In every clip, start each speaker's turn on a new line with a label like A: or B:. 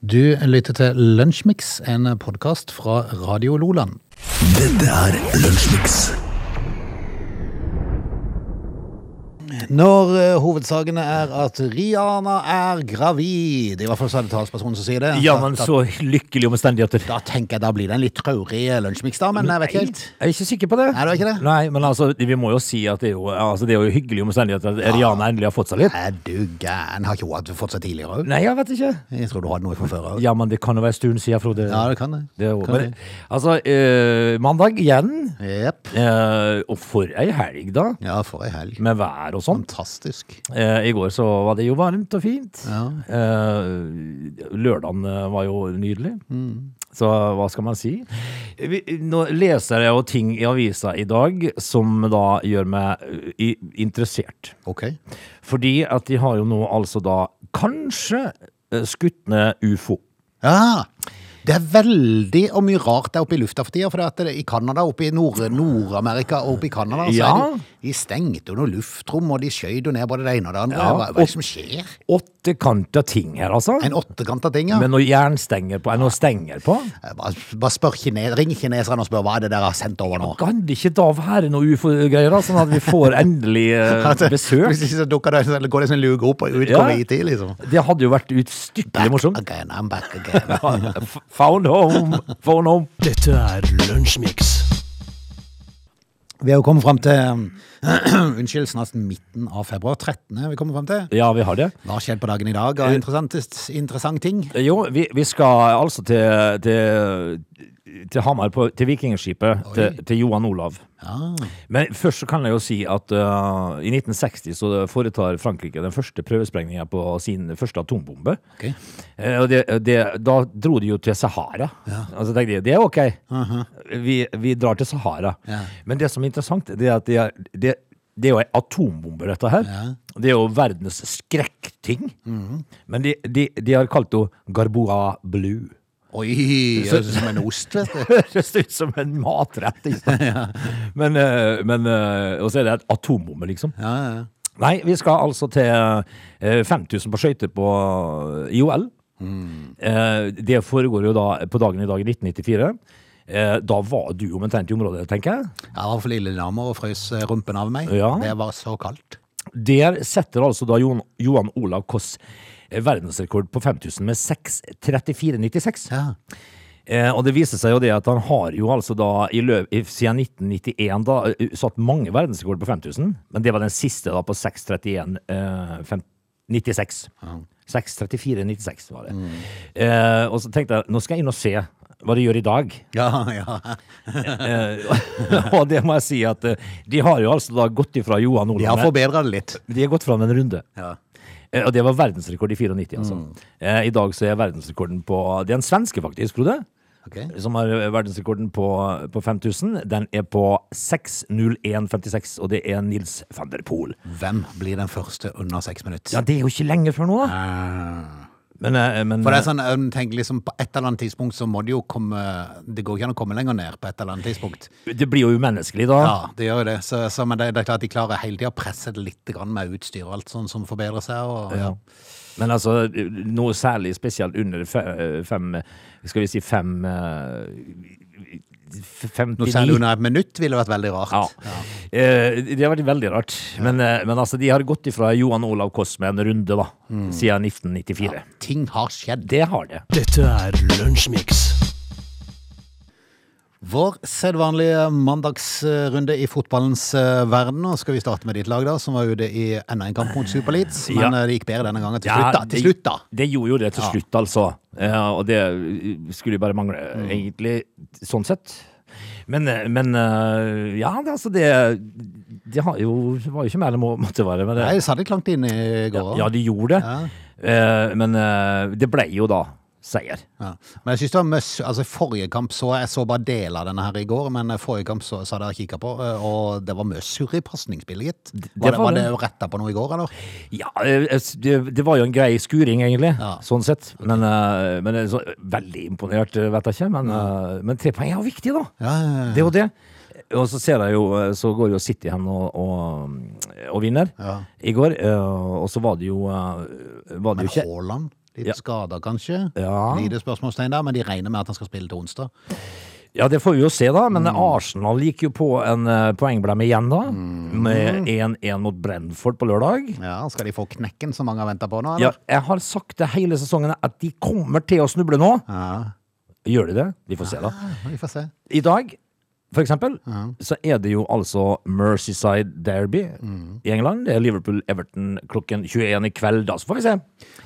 A: Du lytter til Lunsjmix, en podkast fra Radio Loland.
B: Dette er Lunsjmix.
A: Når eh, hovedsakene er at Rihanna er gravid, i hvert fall så er det talspersonen som sier det.
C: Ja,
A: Da-
C: men
A: da,
C: så lykkelige omstendigheter.
A: da tenker jeg da blir det en litt traurig Lunsjmix, da, men jeg vet ikke helt.
C: Jeg er ikke sikker på det.
A: Er du ikke det?
C: Nei, men altså, vi må jo si at det er jo, altså, det er jo hyggelige omstendigheter at Rihanna endelig har fått seg litt.
A: Er du gæren? Har ikke hun hatt- fått seg tidligere òg?
C: Nei, jeg vet ikke.
A: Jeg tror du hadde noe fra før òg.
C: Ja, men det kan jo være en stund siden, Frode.
A: Ja, det kan det.
C: Det er jo,
A: Kan
C: men, altså, eh, mandag igjen.
A: det. Jepp.
C: Eh, og for ei helg, da.
A: Ja, for ei helg.
C: Med vær og sånt.
A: Fantastisk.
C: Eh, I går så var det jo varmt og fint.
A: Ja.
C: Eh, lørdagen eh, var jo nydelig.
A: Mm.
C: Så hva skal man si? Vi, nå leser jeg jo ting i avisa i dag som da gjør meg eh, i, interessert.
A: Ok.
C: Fordi at de har jo nå altså da kanskje eh, skutt ned ufo.
A: Ja, det er veldig og mye rart der oppe i lufta for tida. For det at det, i Canada, oppe i Nord- Nord-Amerika og oppe i Canada, så
C: Ja.
A: er det, de stengte jo noe luftrom, og de skjøt jo ned både det ene og det andre.
C: Ja,
A: Hva, hva er
C: og-
A: det som skjer?
C: Åttekanta ting her, altså.
A: En åttekanta ting, ja.
C: Med noe jernstenger på. Er det noe stenger på?
A: Eh, Bare, bare spør kine, ring kineserne og spør hva er det dere har sendt over nå.
C: Kan det ikke da være noe ufo-greier, da? Sånn at vi får endelig eh,
A: At det-
C: besøk?
A: Plutselig så dukker det, eller går det en sånn luke opp, og ut
C: Ja.
A: kommer IT, liksom.
C: Det hadde jo vært utstykkelig morsomt.
A: Again, I'm back again.
C: F- Found home! Phone home!
B: Dette er Lunsjmix.
A: Vi er jo kommet fram til um, Unnskyld, snart midten av februar. 13. vi kommer frem til. Eh,
C: Ja, vi har det.
A: Hva har skjedd på dagen i dag av interessant, interessant ting?
C: Jo, vi, vi skal altså til, til, til Hamar, på, til vikingskipet, til, til Johan Olav.
A: Ja.
C: Men først så kan jeg jo si at øh, i 1960 så foretar Frankrike den første prøvesprengninga på sin første atombombe.
A: Ok.
C: Eh, Og det, det, da dro de jo til Sahara. Og så tenkte de det er ok, vi, vi drar til Sahara.
A: Ja.
C: Men det som er interessant, det er at det er, det, det er jo ei atombombe, dette her. Det er jo verdens skrekkting. Men de, de, de har kalt henne Garboa Blue.
A: Oi,
C: Så-
A: høres ut som en ost, vet du.
C: Høres ut som en matrett. Ikke sant? Men, eh, men eh, Og så er det et atombombe, liksom.
A: Ja, ja.
C: Nei, vi skal altså til eh, 5000 på skøyter på IOL. Eh, Det foregår jo da på dagen i dag i 1994. Eh, Da var du omtrent i området, tenker jeg.
A: Jeg var for lille damer og frøs rumpen av meg.
C: Ja.
A: Det var så kaldt.
C: Der setter altså da Jon, Johan Olav Koss eh, verdensrekord på 5000 med 6.34,96.
A: Ja.
C: Eh, og det viser seg jo det at han har jo altså da i løp, i- siden 1991 da eh, satt mange verdensrekord på 5000, men det var den siste da på 631 eh, fem- 96. 634,96 var det.
A: Mm.
C: Eh, og så tenkte jeg, nå skal jeg inn og se hva de gjør i dag.
A: Ja, ja.
C: Eh, og det må jeg si at eh, de har jo altså da gått ifra Johan
A: De har
C: Olav.
A: forbedra det litt.
C: De har gått fram en runde.
A: Ja. Mm.
C: Eh, Og det var verdensrekord i 94, altså. Eh, I dag så er verdensrekorden på Det er en svenske, faktisk, Frode.
A: Ok.
C: Som har verdensrekorden på, på 5000. Den er på 6.01,56, og det er Nils van der Poel.
A: Hvem blir den første under seks minutter?
C: Ja, det er jo ikke lenge før nå, da.
A: Ah.
C: Men, eh, men
A: For det er sånn, um, tenk liksom På et eller annet tidspunkt så må det jo komme Det går ikke an å komme lenger ned på et eller annet tidspunkt.
C: eh, det blir jo umenneskelig, da.
A: Ja, det gjør jo det. Så, så, men det, det er klart de klarer hele tida å presse det litt grann med utstyr og alt sånt som forbedrer seg. Og, ja.
C: Men altså, noe særlig spesielt under fe- eh, fem Skal vi si fem eh, f- 59.
A: Noe særlig under et minutt ville vært veldig rart.
C: Ja. Eh, Det har vært veldig rart. Men, eh, men altså, de har gått ifra Johan Olav Koss med en runde, da. Siden 1994.
A: Ting har skjedd.
C: Det har det.
B: Dette er Lunsjmix.
A: Vår sedvanlige mandagsrunde i fotballens eh, verden. Og skal vi starte med ditt lag, da, som var ute i enda en kamp mot Super Leeds. Men
C: Ja.
A: eh, det gikk bedre denne gangen. Til
C: Ja,
A: slutt, da.
C: det-
A: Til slutt, da.
C: Det gjorde jo det til
A: Ja.
C: slutt, altså. Eh, og det eh, skulle jo bare mangle,
A: Mm.
C: egentlig, sånn sett. Men, eh, men eh, ja, det, altså det Det har jo, var jo ikke mer enn det må- måtte være. Men det,
A: Nei, satt litt langt inne i går
C: ja,
A: òg.
C: de gjorde det.
A: Ja.
C: Eh, men eh, det ble jo da seier.
A: Ja. Men jeg synes det var møss, altså forrige kamp så jeg så bare del av denne her i går, men eh, forrige kamp så, så hadde jeg kikka på, eh, og det var mye surr i pasningsspillet, gitt. Var
C: det
A: det,
C: var
A: var det
C: det.
A: retta på noe i går, eller?
C: Ja, eh, s- det, det var jo en grei skuring, egentlig.
A: Ja.
C: Sånn sett. Men, eh, men eh, så, veldig imponert, eh, vet jeg ikke. Men, eh, men tre poeng er jo viktig, da.
A: Ja, ja, ja.
C: Det er jo det. Og så ser jeg jo, så går jo City hen og, og, og vinner
A: Ja.
C: i går. eh, Og så var det jo, eh, var det
A: Men
C: jo ikke
A: Haaland Litt
C: Ja.
A: skader, kanskje.
C: Ja.
A: Lite spørsmålstegn der, men de regner med at han skal spille til onsdag.
C: Ja, det får vi jo se, da. Men
A: Mm.
C: Arsenal gikk jo på en eh, poengblemme igjen, da.
A: Mm.
C: Med 1-1 mot Brentford på lørdag.
A: Ja, Skal de få knekken som mange har venta på nå?
C: Ja,
A: Eller?
C: jeg har sagt det hele sesongen at de kommer til å snuble nå.
A: Ja.
C: Gjør de det? Vi får se, da.
A: Vi får se.
C: I dag, for eksempel, så er det jo altså Merseyside Derby
A: Mm.
C: i England. Det er Liverpool-Everton klokken 21 i kveld, da. Så får vi se.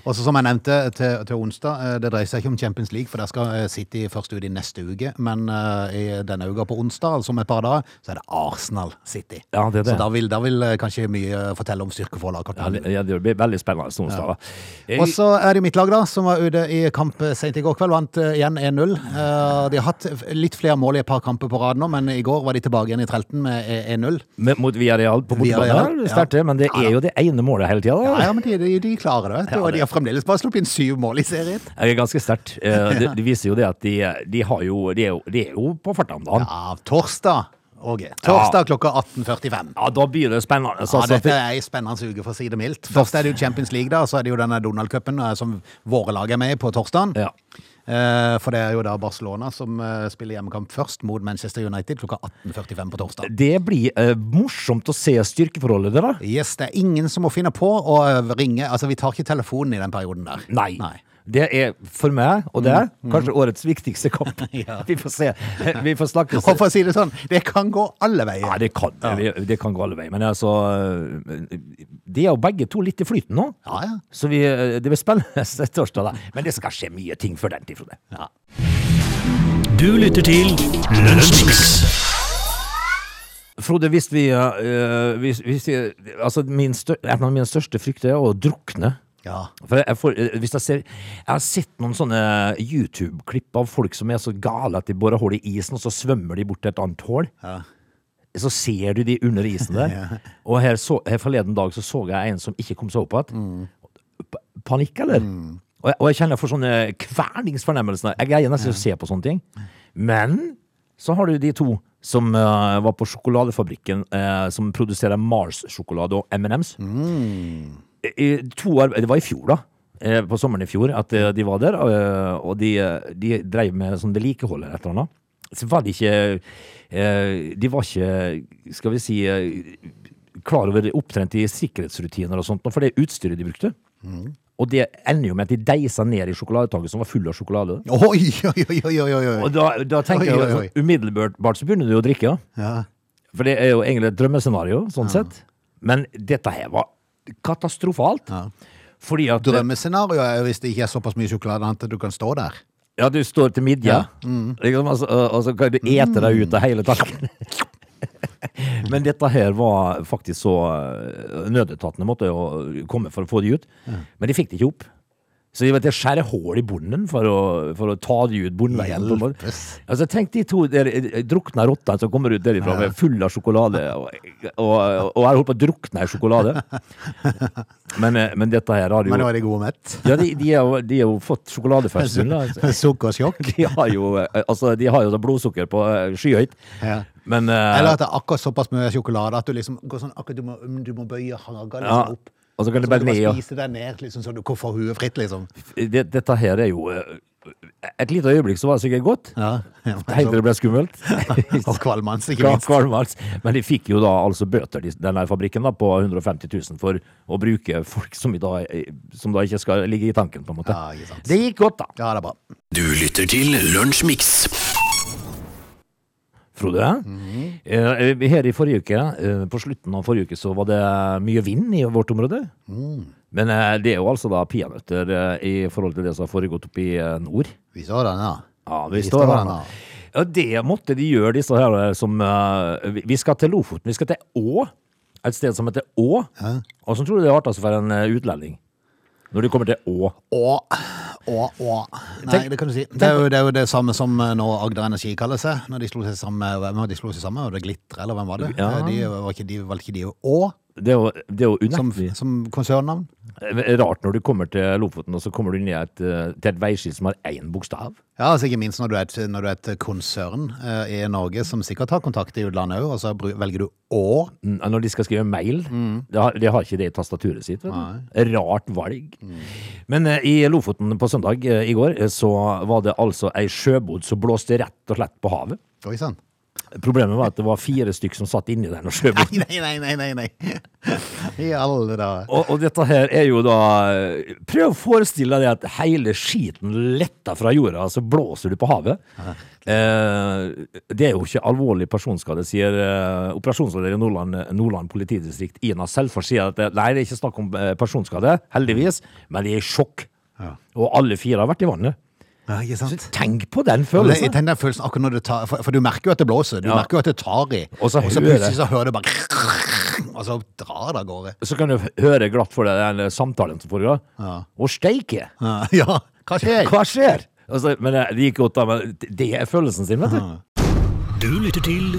A: Og så som jeg nevnte til, til onsdag, eh, det dreier seg ikke om Champions League, for der skal eh, City først ut i neste uke. Men eh, i denne uka på onsdag, altså om et par dager, så er det Arsenal City.
C: Ja, det er det.
A: Så da vil, da vil eh, kanskje mye eh, fortelle om styrkeforholdet akkurat
C: Ja,
A: nå.
C: det, ja, det blir veldig spennende onsdag, da. Eh,
A: Og så er det jo mitt lag, da, som var ute i kamp sent i går kveld. Vant eh, igjen 1-0. Eh, De har hatt f- litt flere mål i et par kamper på rad nå, men i går var de tilbake igjen i trelten med eh, 1-0.
C: men Mot Villarreal på
A: Villarreal,
C: bortebane,
A: ja.
C: sterkt det, men det er jo det ene målet hele tida.
A: Ja, ja, men de, de, de klarer det, vet du.
C: Ja,
A: Og
C: det-
A: de har fremdeles bare sluppet inn syv mål i serien.
C: Det er ganske sterkt. Eh, Det, det viser jo det at de, de, har jo, de, er jo, de er jo på farta om dagen.
A: Ja, torsdag. Åge. Torsdag klokka 18.45.
C: Ja, da blir det spennende. Så,
A: Ja,
C: altså,
A: dette er ei spennende uke, for å si det mildt. Først er det jo Champions League, da, så er det jo denne Donald-cupen eh, som våre lag er med i på torsdagen.
C: Ja.
A: Eh, For det er jo da Barcelona som eh, spiller hjemmekamp først mot Manchester United klokka 18.45 på torsdag.
C: det blir eh, morsomt å se styrkeforholdet der, da.
A: Yes, det er ingen som må finne på å eh, ringe. Altså, vi tar ikke telefonen i den perioden der.
C: Nei. Det er for meg, og det er kanskje årets viktigste kamp.
A: Mm. Ja.
C: Vi får se. Vi får snakkes.
A: Og for å si det sånn, det kan gå alle
C: Ja,
A: veier.
C: det kan, vi- det kan gå alle veier. Men altså eh, De er jo begge to litt i flyten nå.
A: Ja, ja.
C: Så vi, eh, det blir spennende torsdag, da. Men det skal skje mye ting før den tid, Frode.
A: Ja.
B: Du lytter til Lunsjmix.
C: Frode, hvis vi, eh, hvis, hvis vi Altså, min stør, en av mine største frykter er å drukne.
A: ja.
C: For jeg, får, eh, hvis jeg, ser, jeg har sett noen sånne YouTube-klipp av folk som er så gale at de borer hull i isen, og så svømmer de bort til et annet hull. Så ser du de under isen der. Og her, så, her forleden dag så så jeg en som ikke kom seg opp igjen. Pa- Panikk, eller? Og, jeg, og jeg kjenner jeg får sånne kverningsfornemmelser. Jeg greier nesten ikke å se på sånne ting. Men så har du de to som eh, var på sjokoladefabrikken, eh, som produserer Mars-sjokolade og M&M's. I to arbe- Det var i fjor, da. eh, På sommeren i fjor at eh, de var der. eh, Og de, eh, de drev med sånn vedlikehold eller et eller annet. Så var de ikke eh, De var ikke, skal vi si, eh, klar over opptrent i sikkerhetsrutiner og sånt, for det utstyret de brukte.
A: Mm.
C: Og det ender jo med at de deisa ned i sjokoladetaket som var full av sjokolade.
A: Oi, oi, oi, oi, oi, oi.
C: Og da, da
A: Oi,
C: tenker
A: oi, oi.
C: jeg jo, umiddelbart så begynner du å drikke. da.
A: Ja.
C: For det er jo egentlig et drømmescenario, sånn sett. Men dette her var katastrofalt. Fordi at
A: Drømmescenario er jo hvis det ikke er såpass mye sjokolade at du kan stå der.
C: Ja, du står til midja,
A: Mm.
C: liksom, altså, og og så kan du ete deg ut av hele tanken. Men dette her var faktisk så eh, Nødetatene måtte jo komme for å få de ut. Men de fikk det ikke opp. Så de måtte skjære hull i bonden for å, for å ta de ut bondveien. på en måte.
A: Hjelpes.
C: Altså, tenk de to der, eh, drukna rottene som kommer ut derifra med full av sjokolade, og, og, og har holdt på å drukne i sjokolade. Men, eh, men dette her har
A: Men nå
C: jo
A: er de gode og mett.
C: ja, de, de, har, jo- de har jo fått sjokoladefødsel. da.
A: Sukkersjokk.
C: De har jo, eh, altså, de har jo da blodsukker på eh, skyhøyt.
A: Ja.
C: Men eh,
A: Eller at det er akkurat såpass mye sjokolade at du liksom går sånn akkurat du må, du må bøye haga liksom
C: ja,
A: opp.
C: og så
A: Så må
C: kan det
A: du
C: bare ned.
A: bare
C: og-
A: spise deg ned, liksom, så du kan få huet fritt, liksom.
C: Det, dette her er jo eh, Et lite øyeblikk så var det sikkert godt.
A: Ja. ja
C: Helt til det ble skummelt.
A: og kvalmans, ikke
C: Klar-
A: minst.
C: Kvalmans. Men de fikk jo da altså bøter, de- den der fabrikken, da, på 150 000 for å bruke folk som, i dag, eh, som da ikke skal ligge i tanken, på en måte.
A: Ja, ikke sant.
C: Det gikk godt, da.
A: Ja, det er bra.
B: Du lytter til Lunsjmix.
C: Frode. Eh, Her i forrige uke, eh, på slutten av forrige uke, så var det mye vind i vårt område. Men eh, det er jo altså da peanøtter eh, i forhold til det som har foregått oppe i eh, nord.
A: Vi så den, ja.
C: Ja, vi
A: I
C: står her nå.
A: Stavanger.
C: Ja, det måtte de gjøre, disse her eh, som eh, vi- Vi skal til Lofoten. Vi skal til Å. Et sted som heter Å. Og så tror du det er artig for en eh, utlending. Når du kommer til Å.
A: Og, og, og. Nei,
C: Tenk-
A: det kan du si. Det er jo det, er jo det samme som eh, nå Agder Energi kaller seg. Når de slo seg sammen, hvem var det de slo seg sammen? Var det Glitre, eller hvem var det?
C: Ja.
A: Eh, De, var ikke, de valgte ikke de å
C: Det er jo, det er jo
A: som,
C: unektelig. eh,
A: som konsernnavn?
C: Rart når du kommer til Lofoten, og så kommer du ned et, eh, til et veiskilt som har én bokstav.
A: Ja, altså ikke minst når du er et, når du er et konsern eh, i Norge som sikkert har kontakt i utlandet òg, og så bru- velger du Å.
C: Mm, Når de skal skrive mail. De, har, de har ikke det i tastaturet sitt. Vet du. Rart valg. Men eh, i Lofoten på søndag eh, i går, eh, så var det altså ei sjøbod som blåste rett og slett på havet.
A: Oi sann.
C: Problemet var at det var fire stykk som satt inni der når sjøboden
A: Nei, nei, nei, nei, nei. I alle dager.
C: Og, og dette her er jo da Prøv å forestille deg at hele skiten letter fra jorda, så blåser du på havet. Eh, det er jo ikke alvorlig personskade, sier eh, operasjonsleder i Nordland, Nordland politidistrikt, Ina Selfors, sier at det, nei, det er ikke snakk om eh, personskade, heldigvis, men de er i sjokk.
A: Ja.
C: Og alle fire har vært i vannet.
A: Ja, ikke sant?
C: Tenk på den
A: Det, jeg
C: følelsen!
A: tenker den følelsen akkurat når det tar For, for du merker jo at det blåser. Du
C: Ja.
A: merker jo at det tar i.
C: Og så hører
A: plutselig
C: det.
A: så hører du bare Og så drar det av gårde.
C: Så kan du f- høre glatt for deg den eh, samtalen som foregår.
A: Ja.
C: Og steike!
A: Ja, Ja, hva skjer?
C: Hva skjer? Altså, men eh, det gikk godt, da. Men det er følelsen sin, vet du.
B: Du lytter til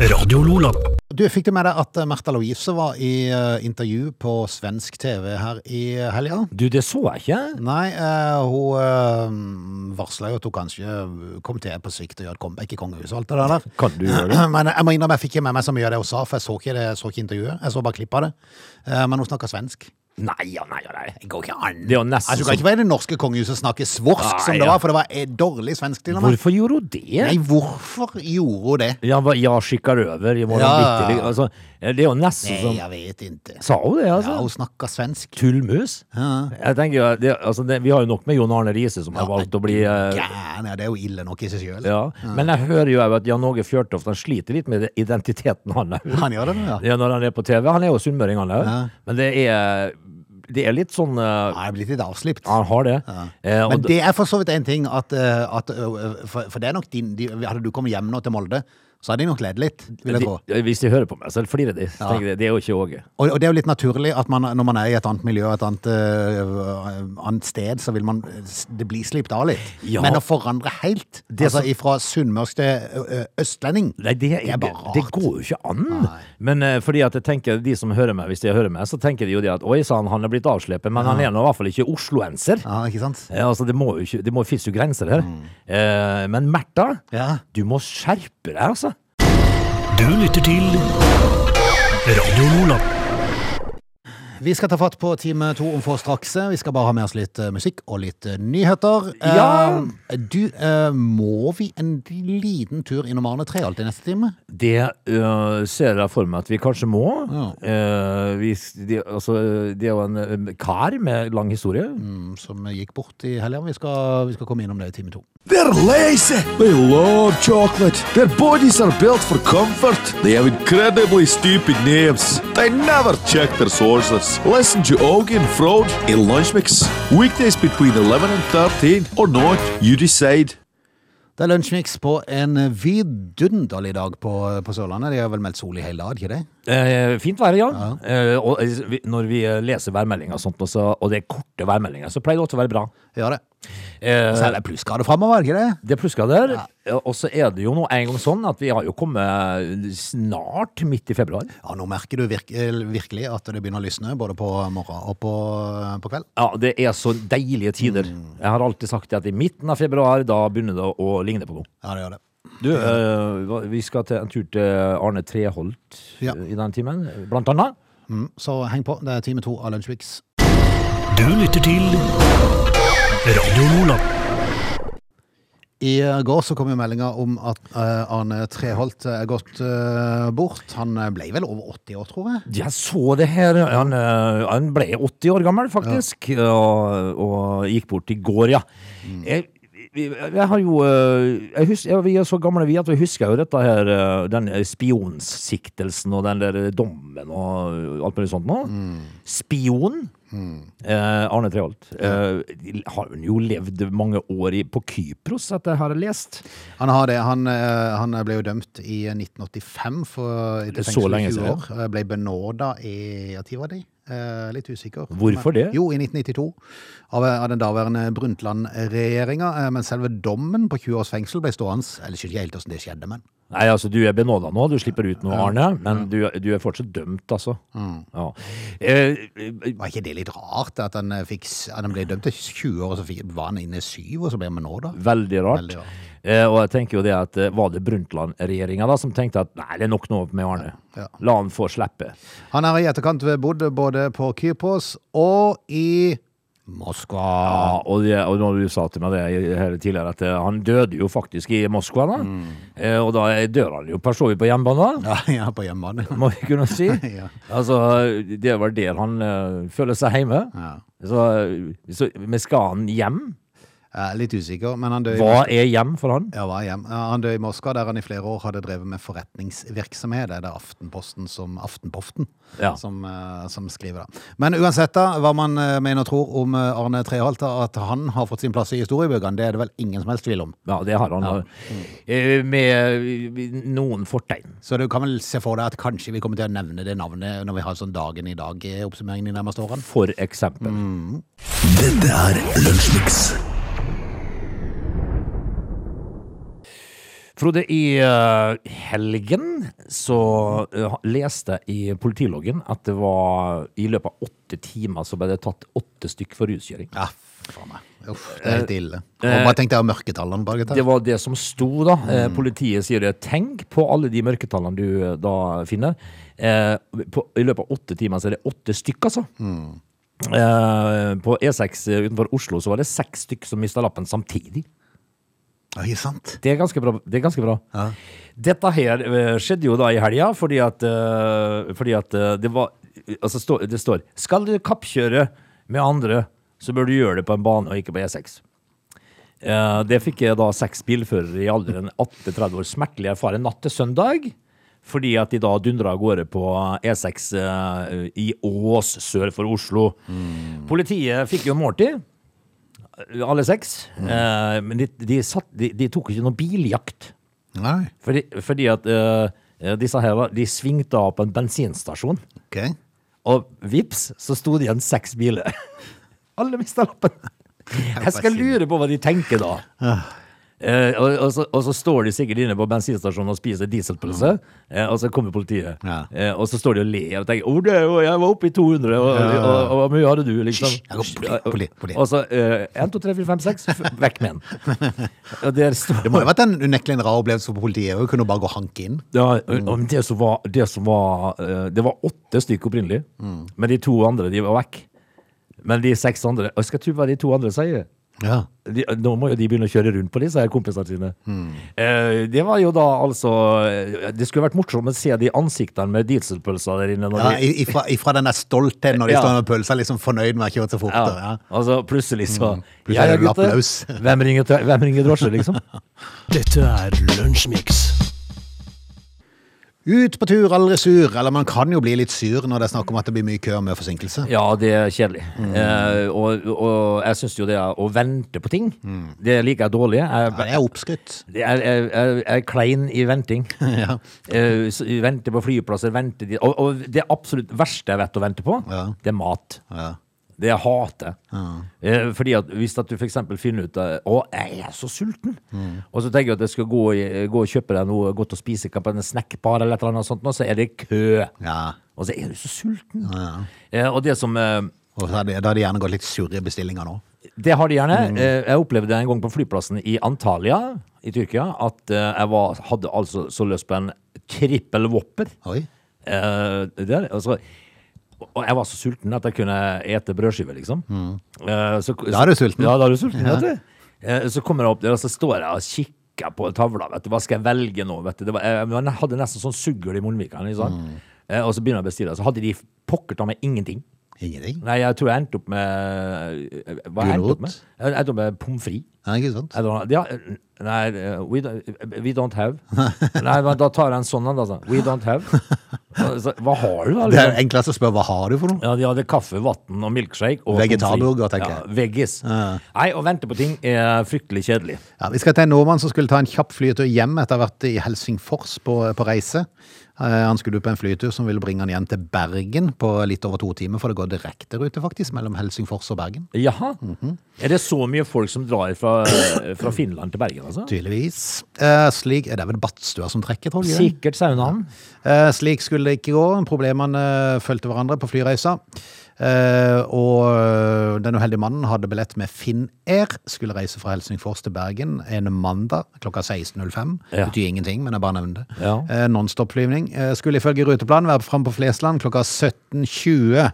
B: Radio Lola.
A: Du, fikk du med deg at eh, Märtha Louise var i eh, intervju på svensk TV her i eh, helga?
C: Du, det så jeg ikke.
A: Nei, eh, hun uh, varsla jo at hun kanskje eh, kom til på sikt og gjør et comeback i kongehuset og alt det der.
C: Kan du gjøre det?
A: Men jeg må innrømme, jeg fikk ikke med meg så mye av det hun sa, for jeg så ikke, det, så ikke intervjuet. Jeg så bare klipp av det. Eh, men hun snakker svensk.
C: Nei ja, nei ja, nei.
A: Det går ikke an.
C: Det er jo nesten
A: Altså, du kan ikke være i det norske kongehuset og snakke svorsk
C: Nei,
A: som det
C: ja.
A: var, for det var eh, dårlig svensk til og med.
C: Hvorfor gjorde hun det?
A: Nei, hvorfor gjorde hun det?
C: Ja, hva- ja skikker over i morgen
A: Ja.
C: bitte litt. Altså, det er jo nesten
A: Nei,
C: som
A: jeg vet ikke.
C: Sa hun det, altså?
A: Ja, hun snakker svensk.
C: Tullmus? Jeg tenker jo, det, altså, det, Vi har jo nok med Jon Arne Riise, som har valgt å bli eh,
A: Gæren, ja, det er jo ille nok i seg sjøl.
C: ja. Men jeg hører jo at Jan Åge Fjørtoft han sliter litt med identiteten han er.
A: Han gjør det nå, ja.
C: Ja, når han er på TV. Han er jo sunnmøring, han òg.
A: Ja.
C: Men det er, det er litt sånn eh,
A: Han er blitt litt avslipt.
C: Han har det. Eh, og
A: Men
C: d-
A: det er for så vidt en ting at, eh, at eh, for, for det er nok din de, Hadde du kommet hjem nå til Molde, så hadde de nok ledd litt, vil jeg tro.
C: de, hvis de hører på meg, så flirer de. Så
A: Ja.
C: tenker de, Det er jo ikke Åge.
A: Og, og det er jo litt naturlig at man, når man er i et annet miljø, et annet, eh, annet sted, så vil man s- Det blir slipt av litt.
C: Ja.
A: Men å forandre helt,
C: Det
A: altså
C: som-
A: ifra sunnmørsk til ø, ø, østlending
C: Nei, det,
A: Det er bare rart.
C: det går jo ikke an.
A: Nei.
C: Men eh, fordi at jeg tenker de som hører meg, hvis de hører meg, så tenker de jo det at oi sann, han er blitt avslepet, men han er nå i hvert fall ikke osloenser.
A: Ja, ikke sant?
C: Eh, altså, det må jo ikke, det må finnes jo grenser her.
A: Mm.
C: Eh, men Märtha,
A: Ja.
C: du må skjerpe deg, altså.
B: Du lytter til Radio Lola.
A: Vi skal ta fatt på time to om få straks. Vi skal bare ha med oss litt eh, musikk og litt eh, nyheter.
C: Ja.
A: Eh, Du, eh, må vi en liten tur innom Arne Treholt i neste time?
C: Det eh, ser jeg for meg at vi kanskje må.
A: Ja.
C: Eh, vi, de, altså, det er jo en eh, kar med lang historie.
A: Mm, Som gikk bort i helga. Vi, skal- vi skal komme innom det i time to.
D: They're lazy. They love chocolate. Their bodies are built for comfort. They have incredibly stupid names. They never check their sources. Listen to Augie and Frode in Lunch Mix. Weekdays between 11 and 13 or not, you decide.
A: Det er lunsjmix på en vidunderlig dag på, på Sørlandet. De har vel meldt sol i hele dag, ikke det?
C: Eh, fint vær, ja. Eh, og eh, vi- når vi eh, leser værmeldinger og sånt, og så- og det er korte værmeldinger, så pleier det også å være bra.
A: Gjør det.
C: Eh,
A: Så er det plussgrader framover, ikke det?
C: det pluska der. Og så er det jo nå en gang sånn at vi har jo kommet snart midt i februar.
A: Ja, nå merker du virk, eh, virkelig at det begynner å lysne, både på morgen og på, eh, på kveld.
C: Ja, det er så deilige tider. Mm. Jeg har alltid sagt at i midten av februar, da begynner det å ligne på noe.
A: Ja, det gjør det.
C: Du, eh, hva- vi skal til en tur til Arne Treholt
A: Ja.
C: eh, i den timen, blant annet.
A: Mm, så heng på. Det er time to av lunsjmix.
B: Du lytter til Radio Lola.
A: I går så kom jo meldinga om at eh, Arne Treholt er gått eh, bort. Han ble vel over 80 år, tror jeg.
C: Jeg så det her. Han, eh, han ble 80 år gammel, faktisk, og, og gikk bort i går, ja. Jeg, jeg, jeg har jo eh, jeg husker, ja, Vi er så gamle vi at vi husker jo dette her, eh, den eh, spionsiktelsen og den der dommen og alt mulig sånt nå. Spion. Eh, Arne Treholt. Eh, har hun jo levd mange år i, på Kypros, etter jeg har lest.
A: Han har det. Han, eh, han ble jo dømt i 1985 for
C: Det
A: etter
C: er så
A: fengsel i
C: lenge
A: 20
C: siden.
A: år. Eh, Ble benåda i ja, tid var det? Eh, litt usikker.
C: Hvorfor det?
A: Jo, i 1992. Av, av den daværende Eh, Brundtland-regjeringa. Eh, men selve dommen på 20 års fengsel ble stående. Eller ikke helt hvordan det skjedde, men
C: Nei, altså, du er benåda nå. Du slipper ut nå, Arne. Men du, du er fortsatt dømt, altså.
A: Mm.
C: Ja. Eh, eh,
A: Var ikke det litt rart at han, eh, fikk, s- at han ble dømt til 20 år, og så fikk, var han inne i 7, og så ble han nå da?
C: veldig rart.
A: Veldig rart.
C: Eh, og jeg tenker jo det at eh, Var det Brundtland-regjeringa da som tenkte at nei, det er nok nå med Arne?
A: Ja.
C: La han få slippe.
A: Han har i etterkant bodd både på Kypros og i Moskva.
C: Ja, og, det, og når du sa til meg det her tidligere, at eh, han døde jo faktisk i Moskva, da.
A: Mm.
C: Eh, og da dør han jo per så vidt på hjemmebane, da.
A: Ja, ja på hjemmebane.
C: Må vi kunne si.
A: Ja.
C: Altså, det var der han eh, føler seg hjemme.
A: Ja.
C: Så, så men skal han hjem?
A: Jeg er Eh, litt usikker, men han døde i
C: Hva er hjem for han?
A: Ja, var hjem. Ja, Han døde i Moskva, der han i flere år hadde drevet med forretningsvirksomhet. Det er det Aftenposten som Aftenpoften
C: Ja.
A: som, eh, som skriver det. Men uansett da, hva man eh, mener og tror om eh, Arne Treholt, da, at han har fått sin plass i historiebøkene, det er det vel ingen som helst tvil om.
C: Ja, det har han. Eh, Med eh, noen fortegn.
A: Så du kan vel se for deg at kanskje vi kommer til å nevne det navnet når vi har sånn dagen i dag-oppsummeringen de nærmeste årene.
C: For eksempel.
B: Dette er Lunsjmix.
C: Frode, i eh, helgen så eh, leste jeg i politiloggen at det var i løpet av åtte timer så ble det tatt åtte stykk for ruskjøring.
A: Ja, faen meg. Uff, det er helt ille. Og bare tenk deg å mørketallene bak dette.
C: Eh, Det var det som sto, da. Eh, Politiet sier det. Tenk på alle de mørketallene du eh, da finner. Eh, på, I løpet av åtte timer så er det åtte stykk, altså. Eh, på E6 utenfor Oslo så var det seks stykk som mista lappen samtidig.
A: Oi, sant.
C: Det er ganske bra. Det er ganske bra. Dette her eh, skjedde jo da i helga, fordi at, eh, fordi at eh, det var Altså, stå- det står Skal du kappkjøre med andre, så bør du gjøre det på en bane og ikke på E6. Eh, Det fikk jeg da seks bilførere i alderen 18-30 år smertelig erfare natt til søndag. Fordi at de da dundra av gårde på E6 eh, i Ås sør for Oslo. Politiet fikk jo måltid. Alle seks. Eh, men de, de, satt, de, de tok ikke noen biljakt.
A: Nei,
C: Fordi, fordi at eh, disse her de svingte av på en bensinstasjon,
A: ok.
C: og vips, så sto det igjen seks biler. Alle mista lappen. Jeg skal lure på hva de tenker da. Eh, og, og, så, og så står de sikkert inne på bensinstasjonen og spiser dieselpølse, eh, og så kommer politiet.
A: Mm. Ja.
C: Eh, og så står de og ler og tenker 'Å, det er jo, jeg var oppe i 200, og, og, og, og hvor mye hadde du?' liksom.
A: Hysj, jeg går politi, politi, politi.
C: Og så eh, 1, 2, 3, 4, 5, 6, f- vekk med den. Og der står
A: Det må jo ha vært en unektelig en rar opplevelse for politiet. og Kunne bare gå og hanke inn.
C: Ja,
A: Mm.
C: og men det som var, det som var eh, Det var åtte stykker opprinnelig,
A: Mm.
C: men de to andre de var vekk. Men de seks andre Og skal tro hva de to andre sier.
A: Ja.
C: De, nå må jo de begynne å kjøre rundt på disse her kompisene sine.
A: Mm.
C: Eh, det var jo da altså eh, Det skulle vært morsomt å se de ansiktene med dieselpølser der inne. Når
A: Ja,
C: de,
A: i- ifra, ifra den der stoltheten når de
C: Ja.
A: står med pølsa, liksom fornøyd med å ha kjørt seg
C: ja,
A: fortere. Ja. Mm.
C: altså plutselig så
A: Plutselig
C: Ja,
A: er
C: ja,
A: det
C: gutter.
A: lapplaus.
C: Hvem ringer, til- hvem ringer drosje, liksom?
B: Dette er Lunsjmix.
A: Ut på tur, aldri sur. Eller man kan jo bli litt sur når det er snakk om at det blir mye kø og mye forsinkelse.
C: Ja, det er kjedelig.
A: Mm.
C: Eh, og, og jeg syns jo det å vente på ting,
A: Mm.
C: det liker jeg dårlig. Jeg,
A: Ja, det er oppskrytt.
C: Det er, er, er, er klein i venting.
A: Ja.
C: Eh, s- vente på flyplasser, vente dit. Og, og det absolutt verste jeg vet å vente på,
A: Ja.
C: det er mat.
A: Ja.
C: Det jeg hater. Eh, fordi at hvis at du f.eks. finner ut eh, Å, jeg er så sulten!
A: Mm.
C: Og så tenker jeg at jeg skal gå, i- gå og kjøpe deg noe godt å spise, kanskje en snackbar eller et eller annet sånt, og så er det kø.
A: ja.
C: Og så er du så sulten. Eh, og det som eh,
A: Og så har det, da har det gjerne gått litt surre bestillinger nå.
C: Det har de gjerne.
A: Mm.
C: Eh, Jeg opplevde en gang på flyplassen i Antalya i Tyrkia at eh, jeg var, hadde altså så lyst på en trippel whopper.
A: Oi.
C: Eh, der, altså, og jeg var så sulten at jeg kunne ete brødskive, liksom. Eh, så,
A: Mm. Da er du sulten.
C: Ja, da er du sulten, vet du. Eh, så kommer jeg opp der, og så står jeg og kikker på tavla. Vet du. Hva skal jeg velge nå? Vet du? Det var, jeg, jeg hadde nesten sånn suggel i munnvikene. Liksom.
A: Mm.
C: Eh, og så begynner jeg å bestille. Så hadde de pokker ta meg ingenting.
A: Ingenting.
C: Nei, jeg tror jeg endte opp med eh, Hva jeg endte
A: Gulrot?
C: opp med? Jeg endte opp med pommes frites.
A: Ja, ikke sant?
C: Jeg don't- Ja, nei, eh, we don't, we don't have. Nei, men da tar jeg en sånn en, da. sånn. We don't have. Altså, Hva har du, da?
A: Det er
C: Liksom?
A: enklest å spørre hva har du for noe?
C: Ja, de hadde kaffe, vann og milkshake. Og
A: Vegetarburger,
C: pommes frites.
A: tenker jeg.
C: Ja, veggis. Nei, å vente på ting er fryktelig kjedelig.
A: Ja, vi skal til en nordmann som skulle ta en kjapp flytur hjem etter å ha vært i Helsingfors på, på reise. Eh, Han skulle ut på en flytur som ville bringe han igjen til Bergen på litt over to timer, for det går direkterute faktisk mellom Helsingfors og Bergen.
C: Jaha.
A: Mhm.
C: Er det så mye folk som drar fra, eh, fra Finland til Bergen, altså?
A: Tydeligvis. Eh, Slik, det er vel Badstua som trekker, tror jeg.
C: Sikkert saunaen.
A: Eh, Slik skulle det ikke gå. Problemene eh, fulgte hverandre på flyreisa. Eh, og eh, den uheldige mannen hadde billett med Finnair, skulle reise fra Helsingfors til Bergen en mandag klokka 16.05.
C: Ja.
A: Betyr ingenting, men jeg bare nevnte det.
C: Ja.
A: Eh, Nonstop-flyvning. Eh, skulle ifølge ruteplanen være framme på Flesland klokka 17.20.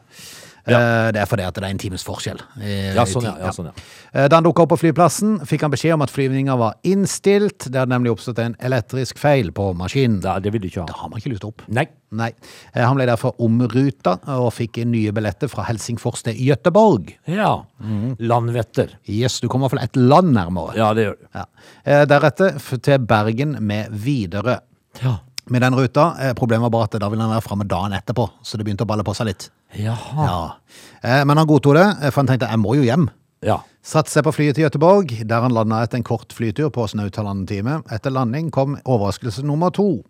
A: Eh, Det er fordi at det er en times forskjell. i-
C: Ja, sånn,
A: i
C: ja,
A: tid,
C: ja, sånn, ja.
A: Eh, Da han dukka opp på flyplassen, fikk han beskjed om at flyvninga var innstilt. Det hadde nemlig oppstått en elektrisk feil på maskinen.
C: Det, det vil du ikke
A: Da
C: ha.
A: har man ikke lyst opp.
C: Nei.
A: Nei. Eh, Han ble derfor omruta og fikk nye billetter fra Helsingfors til Gøteborg.
C: Ja.
A: Mhm.
C: Landvetter.
A: Yes, du kommer i hvert fall et land nærmere.
C: Ja, det gjør du.
A: Ja. Eh, Deretter f- til Bergen med Widerøe.
C: Ja.
A: Med den ruta, eh, problemet var bare at da ville han være framme dagen etterpå, så det begynte å balle på seg litt.
C: Jaha.
A: Ja. Eh, Men han godtok det, eh, for han tenkte jeg må jo hjem.
C: Ja.
A: Satte seg på flyet til Gøteborg, der han landa etter en kort flytur på snaut halvannen time. Etter landing kom overraskelse nummer to.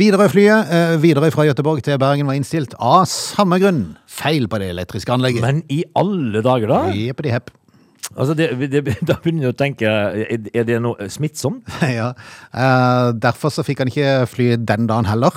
A: Widerøe-flyet eh, Widerøe fra Gøteborg til Bergen var innstilt av samme grunn. Feil på det elektriske anlegget.
C: Men i alle dager, da?
A: Jeppedi hepp.
C: Altså, det, det, da begynner du å tenke Er er det noe smittsomt?
A: Ja. Eh, derfor så fikk han ikke fly den dagen heller.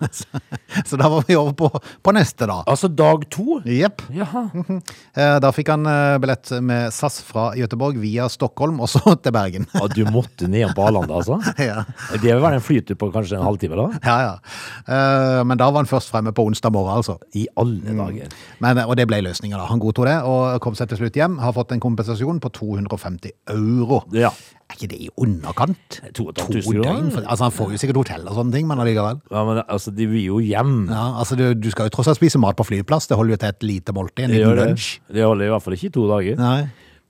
A: så, så da var vi over på, på neste, da.
C: Altså dag to?
A: Jepp.
C: Jaha.
A: Eh, da fikk han eh, billett med SAS fra Gøteborg via Stockholm og så til Bergen.
C: Ja, du måtte ned på Arlanda, altså?
A: ja.
C: Det vil være en flytur på kanskje en halvtime, da?
A: Ja, ja. Eh, men da var han først fremme på onsdag morgen, altså.
C: I alle dager.
A: Men, og det ble løsninga, da. Han godtok det og kom seg til slutt hjem. Har fått en kompensasjon på 250 euro.
C: Ja.
A: Er ikke det i underkant?
C: To og et halvt
A: To
C: tusen kroner.
A: døgn? For, altså, han får jo sikkert hotell og sånne ting, men allikevel.
C: Ja, men altså, de vil jo hjem.
A: Ja, altså, du, du skal jo tross alt spise mat på flyplass. Det holder jo til et lite måltid, en
C: Det
A: liten
C: gjør det.
A: lunsj.
C: Det holder i hvert fall ikke i to dager.
A: Nei.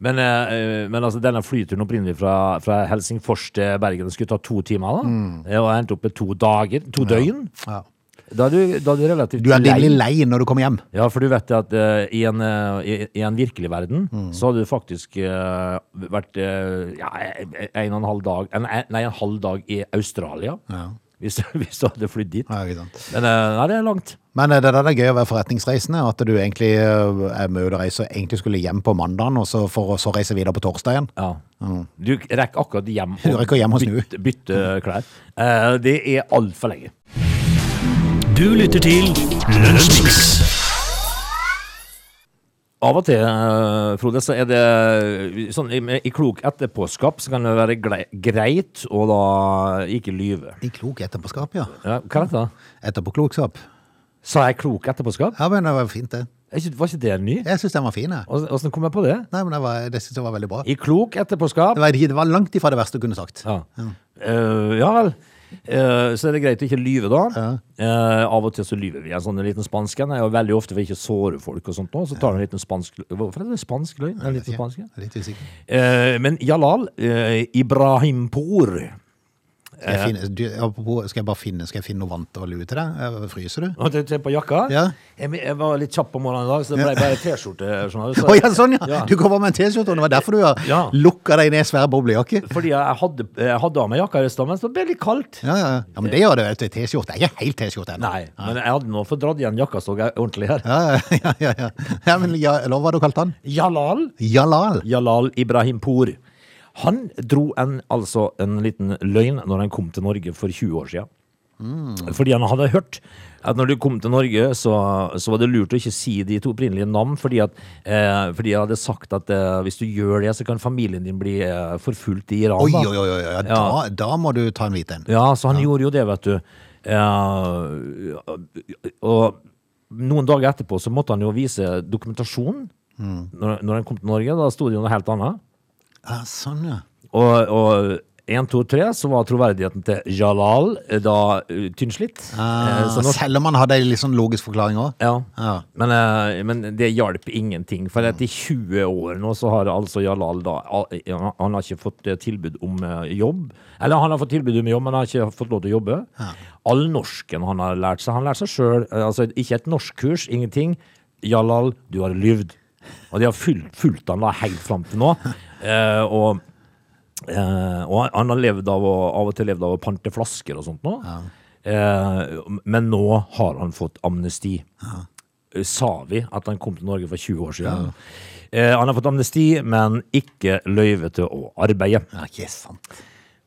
C: Men, eh, eh, men altså, denne flyturen opprinnelig fra, fra Helsingfors til Bergen skulle ta to timer, da. Det var endt opp med to dager, to døgn.
A: Ja.
C: Da er du, da er du relativt
A: Du er rimelig lei når du kommer hjem.
C: Ja, for du vet at eh, i, en, eh, i, i en virkelig verden
A: Mm.
C: så hadde du faktisk eh, vært eh, ja, en og en halv dag en, en- Nei, en halv dag i Australia.
A: Ja.
C: Hvis, du- hvis du hadde flydd dit.
A: Ja, ikke sant.
C: Men eh, nei, det er langt.
A: Men eh, det der er gøy å være forretningsreisende, at du egentlig eh, er med ut og reiser, egentlig skulle hjem på mandagen, og så, for å så reise videre på torsdag igjen.
C: Ja. Du rekker akkurat hjem
A: Du rekker hjem og snu.
C: bytte, bytte klær. Eh, det er altfor lenge.
B: Du lytter til Lunsjmix.
C: Av og til, eh, Frode, så er det sånn i, i klok etterpåskap så kan det være glei- greit å da ikke lyve.
A: I klok etterpåskap, ja.
C: Ja, hva er dette?
A: Etterpåklokskap.
C: Sa jeg klok etterpåskap?
A: Ja, men det var fint det.
C: Er ikke- Var ikke det ny?
A: Jeg synes den var fin, jeg.
C: Åssen åssen kom jeg på det?
A: Nei, men det, var, det synes jeg var veldig bra.
C: I klok etterpåskap.
A: Det var, det var langt ifra det verste du kunne sagt.
C: Ja, Eh, ja vel. Eh, så er det greit å ikke lyve, da. Eh, av og til så lyver vi. En sånn liten spansk en er jo veldig ofte for ikke å såre folk og sånt nå, så tar du en liten spansk Hvorfor er det spansk løgn? En liten spansk? ja?
A: Jeg er Litt usikker.
C: Eh, men Jalal eh, Ibrahimpour
A: Skal jeg, finne, du, apropos, skal jeg bare finne, skal jeg finne noe vant og lue til deg? Eh, Fryser du?
C: Nå tenkte jeg på jakka.
A: Ja.
C: Jeg, jeg var litt kjapp på morgenen i dag, så det ble bare T-skjorte. skjønner du, så-
A: Å ja, sånn ja!
C: Ja.
A: Du kommer med en T-skjorte, og det var derfor du har
C: Ja.
A: lukka deg ned i svær boblejakke.
C: Fordi jeg hadde, jeg hadde av meg jakka i stad, men så ble det litt kaldt.
A: Ja, ja. ja, men det gjør det. vet du. T-skjorte er ikke helt T-skjorte ennå.
C: Nei, men jeg hadde nå fått dratt igjen jakka så jeg ordentlig her.
A: Ja, ja, ja, ja. ja, men ja, eller hva hadde du kalt han?
C: Jalal
A: Jalal.
C: Jalal Ibrahimpour. Han dro en, altså en liten løgn når han kom til Norge for 20 år siden.
A: Mm.
C: Fordi han hadde hørt at når du kom til Norge, så, så var det lurt å ikke si de to opprinnelige navn, fordi, at, eh, fordi jeg hadde sagt at eh, hvis du gjør det, så kan familien din bli eh, forfulgt i Iran.
A: Oi,
C: da.
A: oi, oi, oi, oi. Da, da må du ta en hvit en.
C: Ja, så han gjorde jo det, vet du. Eh, og noen dager etterpå så måtte han jo vise dokumentasjon.
A: Mm.
C: Når, når han kom til Norge, da sto det jo noe helt annet.
A: Ja, sånn ja.
C: Og, og 1, 2, 3 så var troverdigheten til Jalal eh, da eh, tynnslitt. Eh,
A: Ah,
C: så nå-
A: selv om han hadde en litt sånn logisk forklaring òg.
C: ja.
A: Ja.
C: Men, eh, men det hjalp ingenting. For etter 20 år nå så har altså Jalal da al- Han han har ikke fått eh, tilbud om eh, jobb. Eller han har fått tilbud om jobb, men han har ikke fått lov til å jobbe. Allnorsken han har lært seg. Han lærte seg sjøl. Altså ikke et norskkurs, ingenting. Jalal, du har lyvd. Og de har fulgt, fulgt han da helt fram til nå. Eh, og Eh, og han- han har levd av å, av og til levd av å pante flasker og sånt nå. Eh, men nå har han fått amnesti. Sa vi at han kom til Norge for 20 år siden? Eh, han har fått amnesti, men ikke løyve til å arbeide.
A: Ja, ikke sant.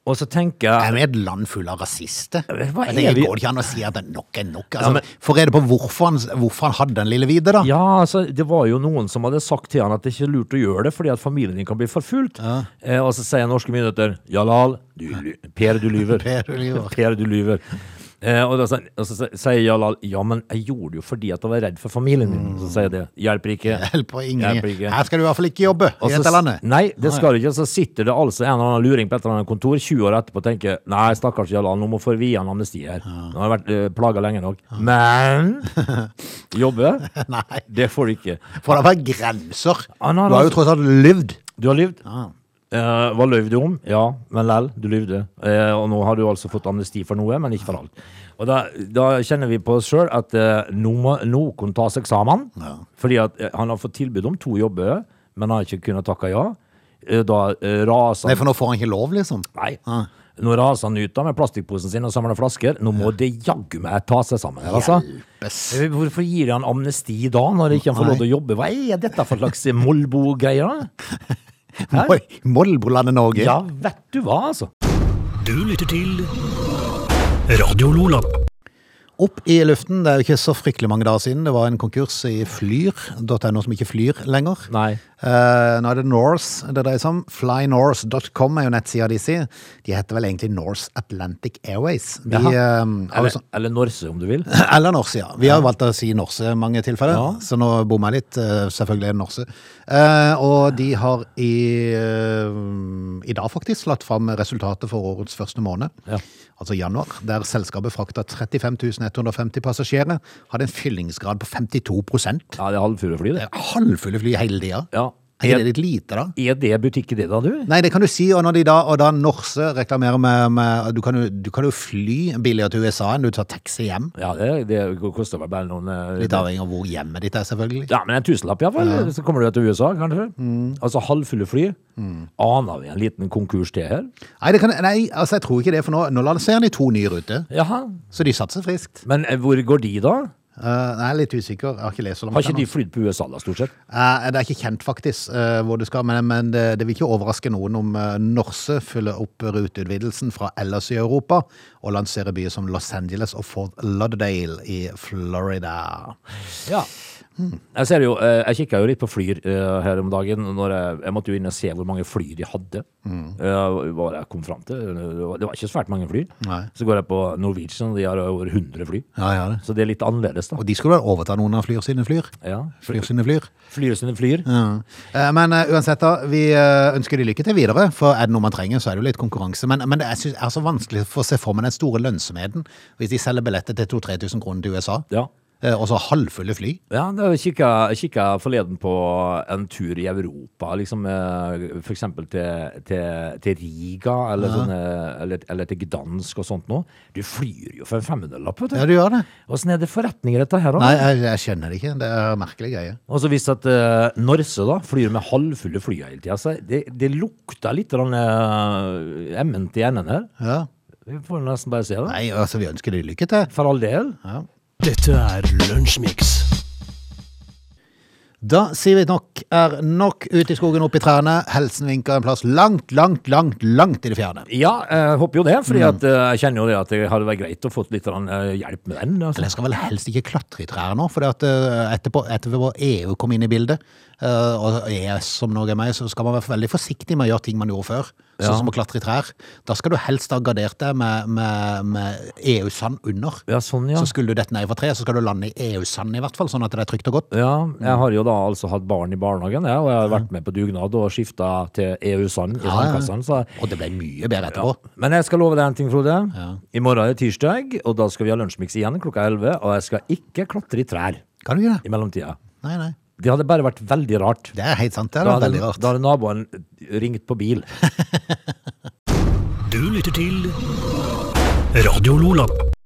C: Og så tenker jeg
A: Er vi et land full av rasister?
C: Hva er
A: det
C: vi-
A: går ikke an å si at det er nok er nok.
C: Ja,
A: Altså,
C: men-
A: Få rede på hvorfor han, hvorfor han hadde den lille hvite, da.
C: Ja, altså, det var jo noen som hadde sagt til han at det ikke er lurt å gjøre det, fordi at familien din kan bli forfulgt. Eh, og så sier norske myndigheter Jalal, du, ly- Per, du lyver.
A: Per, du lyver.
C: Per, du lyver. Eh, og, da, sa- og så sa- sier Jalal ja, men jeg gjorde det jo fordi at jeg var redd for familien min. Så sier det hjelper ikke.
A: Mm. Hjelp på ingen.
C: Hjelper ikke.
A: Her skal du i hvert fall ikke jobbe
C: Og
A: i
C: så
A: dette
C: s-
A: landet.
C: Nei, det skal du ikke. Så sitter det altså en eller annen luring på et eller annet kontor 20 år etterpå og tenker Nei, stakkars Jalal, nå må få vi han amnesti her. Nå har jeg vært eh, plaga lenge nok. Men jobbe?
A: Nei.
C: Det får du ikke.
A: For det var grenser.
C: Han har
A: Du har
C: altså-
A: jo tross alt levd.
C: Du har lyvd. Eh, hva løy du om? Ja, men lell, du lyvde. Eh, og nå har du altså fått amnesti for noe, men ikke for alt. Og da, da kjenner vi på oss sjøl at eh, nå må noen ta seg sammen. Fordi at eh, han har fått tilbud om to jobber, men har ikke kunnet takke ja. Eh, da eh, raser
A: Nei,
C: han
A: for nå får han ikke lov, liksom.
C: Nei. Nå raser han ut da med plastikkposen sin og samler flasker. Nå må det jaggu meg ta seg sammen her, altså.
A: Hjelpes.
C: Eh, Hvorfor gir han amnesti da, når ikke han får lov til å jobbe? Hva er dette for slags Molbo-greier? da? Hæ?
A: Oi, Molbolandet Norge.
C: Ja, vet du hva, altså.
B: Du lytter til Radio Lola.
A: Opp i luften, det er jo ikke så fryktelig mange dager siden. Det var en konkurs i flyr.no som ikke flyr lenger.
C: Nei.
A: Eh, nå er det Norse det dreier seg om. Flynorse.com er jo nettsida de sier. De heter vel egentlig Norse Atlantic Airways. De,
C: Jaha.
A: eh, har jo
C: Eller,
A: sånn-
C: eller Norse, om du vil.
A: eller Norse, ja. Vi har jo valgt å si Norse i mange tilfeller, så nå bommer jeg litt. Eh, Selvfølgelig er det Norse. Eh, og de har i, eh, i dag faktisk lagt fram resultatet for årets første måned,
C: Ja.
A: altså januar, der selskapet frakta 35 150 passasjerer, hadde en fyllingsgrad på 52
C: Ja, det er halvfure fly, det.
A: Halvfulle fly hele tida.
C: Ja.
A: Er ikke
C: Er,
A: det litt lite, da?
C: er det butikk i det, da, du?
A: Nei, det kan du si, og, når de da, og da Norse reklamerer med, med du, kan jo, du kan jo fly billigere til USA enn du tar taxi hjem.
C: Ja, det, det koster vel bare noen eh,
A: Litt avhengig av hvor hjemmet ditt er, selvfølgelig.
C: Ja, men en tusenlapp iallfall. fall Så kommer du til USA, kanskje. Altså halvfulle fly. Aner vi en liten konkurs til her?
A: Nei, det kan, nei altså, jeg tror ikke det, for nå, nå lanserer de to nye ruter,
C: Jaha.
A: så de satser friskt.
C: Men eh, hvor går de, da?
A: Eh, nei, jeg er litt usikker, jeg har ikke lest så langt.
C: Har ikke
A: ennå.
C: de flydd på USA, da, stort sett?
A: Eh, det er ikke kjent faktisk eh, hvor det skal, men, men det, det vil ikke overraske noen om eh, Norse følger opp ruteutvidelsen fra ellers i Europa og lanserer byer som Los Angeles og Fort Lauderdale i Florida.
C: Ja. Jeg, ser jo, eh, jeg kikka jo litt på Flyr eh, her om dagen. Når jeg, jeg måtte jo inn og se hvor mange fly de hadde. Eh, hva jeg kom fram til. Det var- det var ikke svært mange fly.
A: Nei.
C: Så går jeg på Norwegian, og de har over 100 fly.
A: Ja, ja det.
C: Så det er litt annerledes, da.
A: Og de skulle vel overta noen av flyr sine flyr?
C: Ja.
A: Flyr sine flyr.
C: Flyr sine flyr.
A: Ja. Eh, Men eh, uansett, da, vi eh, ønsker de lykke til videre, for er det noe man trenger, så er det jo litt konkurranse. Men, men det er, er så vanskelig for å se for meg den store lønnsomheten hvis de selger billetter til 2000-3000 kroner til USA,
C: Ja.
A: eh, og så halvfulle fly.
C: Ja, da kikka jeg kikka forleden på en tur i Europa, liksom eh, for eksempel til, til, til Riga eller, sånne, eller, eller til Gdansk og sånt noe. Du flyr jo for en 500-lapp, vet du.
A: Ja, du gjør det.
C: Åssen er det forretninger, dette her, da?
A: Nei, jeg, jeg skjønner det ikke. Det er merkelige greier.
C: Og så visst at eh, Norse da, flyr med halvfulle fly hele tida. Så det, det lukter litt uh, emmen til enden her.
A: Ja.
C: Vi får nesten bare se det.
A: Nei, altså, vi ønsker de lykke til.
C: For all del.
B: Dette er Lunsjmix.
A: Da sier vi nok er nok ute i skogen, opp i trærne. Helsen vinker en plass langt, langt, langt, langt i det fjerne.
C: Ja, jeg håper jo det. For
A: Mm.
C: jeg kjenner jo det at det hadde vært greit å få litt grann, eh, hjelp med den.
A: Men
C: Altså.
A: jeg skal vel helst ikke klatre i trær nå, for etterpå, etterpå EU kom inn i bildet, eh, og ES som Norge er med, så skal man være veldig forsiktig med å gjøre ting man gjorde før, sånn som å klatre i trær. Da skal du helst ha gardert deg med, med, med EU-sand under.
C: Ja, sånn, ja.
A: Så skulle du dette ned fra treet, så skal du lande i EU-sand i hvert fall, sånn at det er trygt og godt.
C: Ja,
A: Mm.
C: jeg har jo da altså hatt barn i barnehagen, ja, og jeg har vært med på dugnad og skifta til EU-sand i
A: ja.
C: sandkassene. Så
A: Og det ble mye bedre etterpå.
C: Men jeg skal love deg en ting, Frode. I morgen er det tirsdag, og da skal vi ha lunsjmix igjen klokka 11. Og jeg skal ikke klatre i trær
A: Kan du ikke det?
C: i mellomtida.
A: Nei, nei.
C: Det hadde bare vært veldig rart.
A: Det er helt sant, det
C: Da
A: er veldig
C: hadde,
A: rart.
C: da hadde naboen ringt på bil.
B: Du lytter til Radio Lola.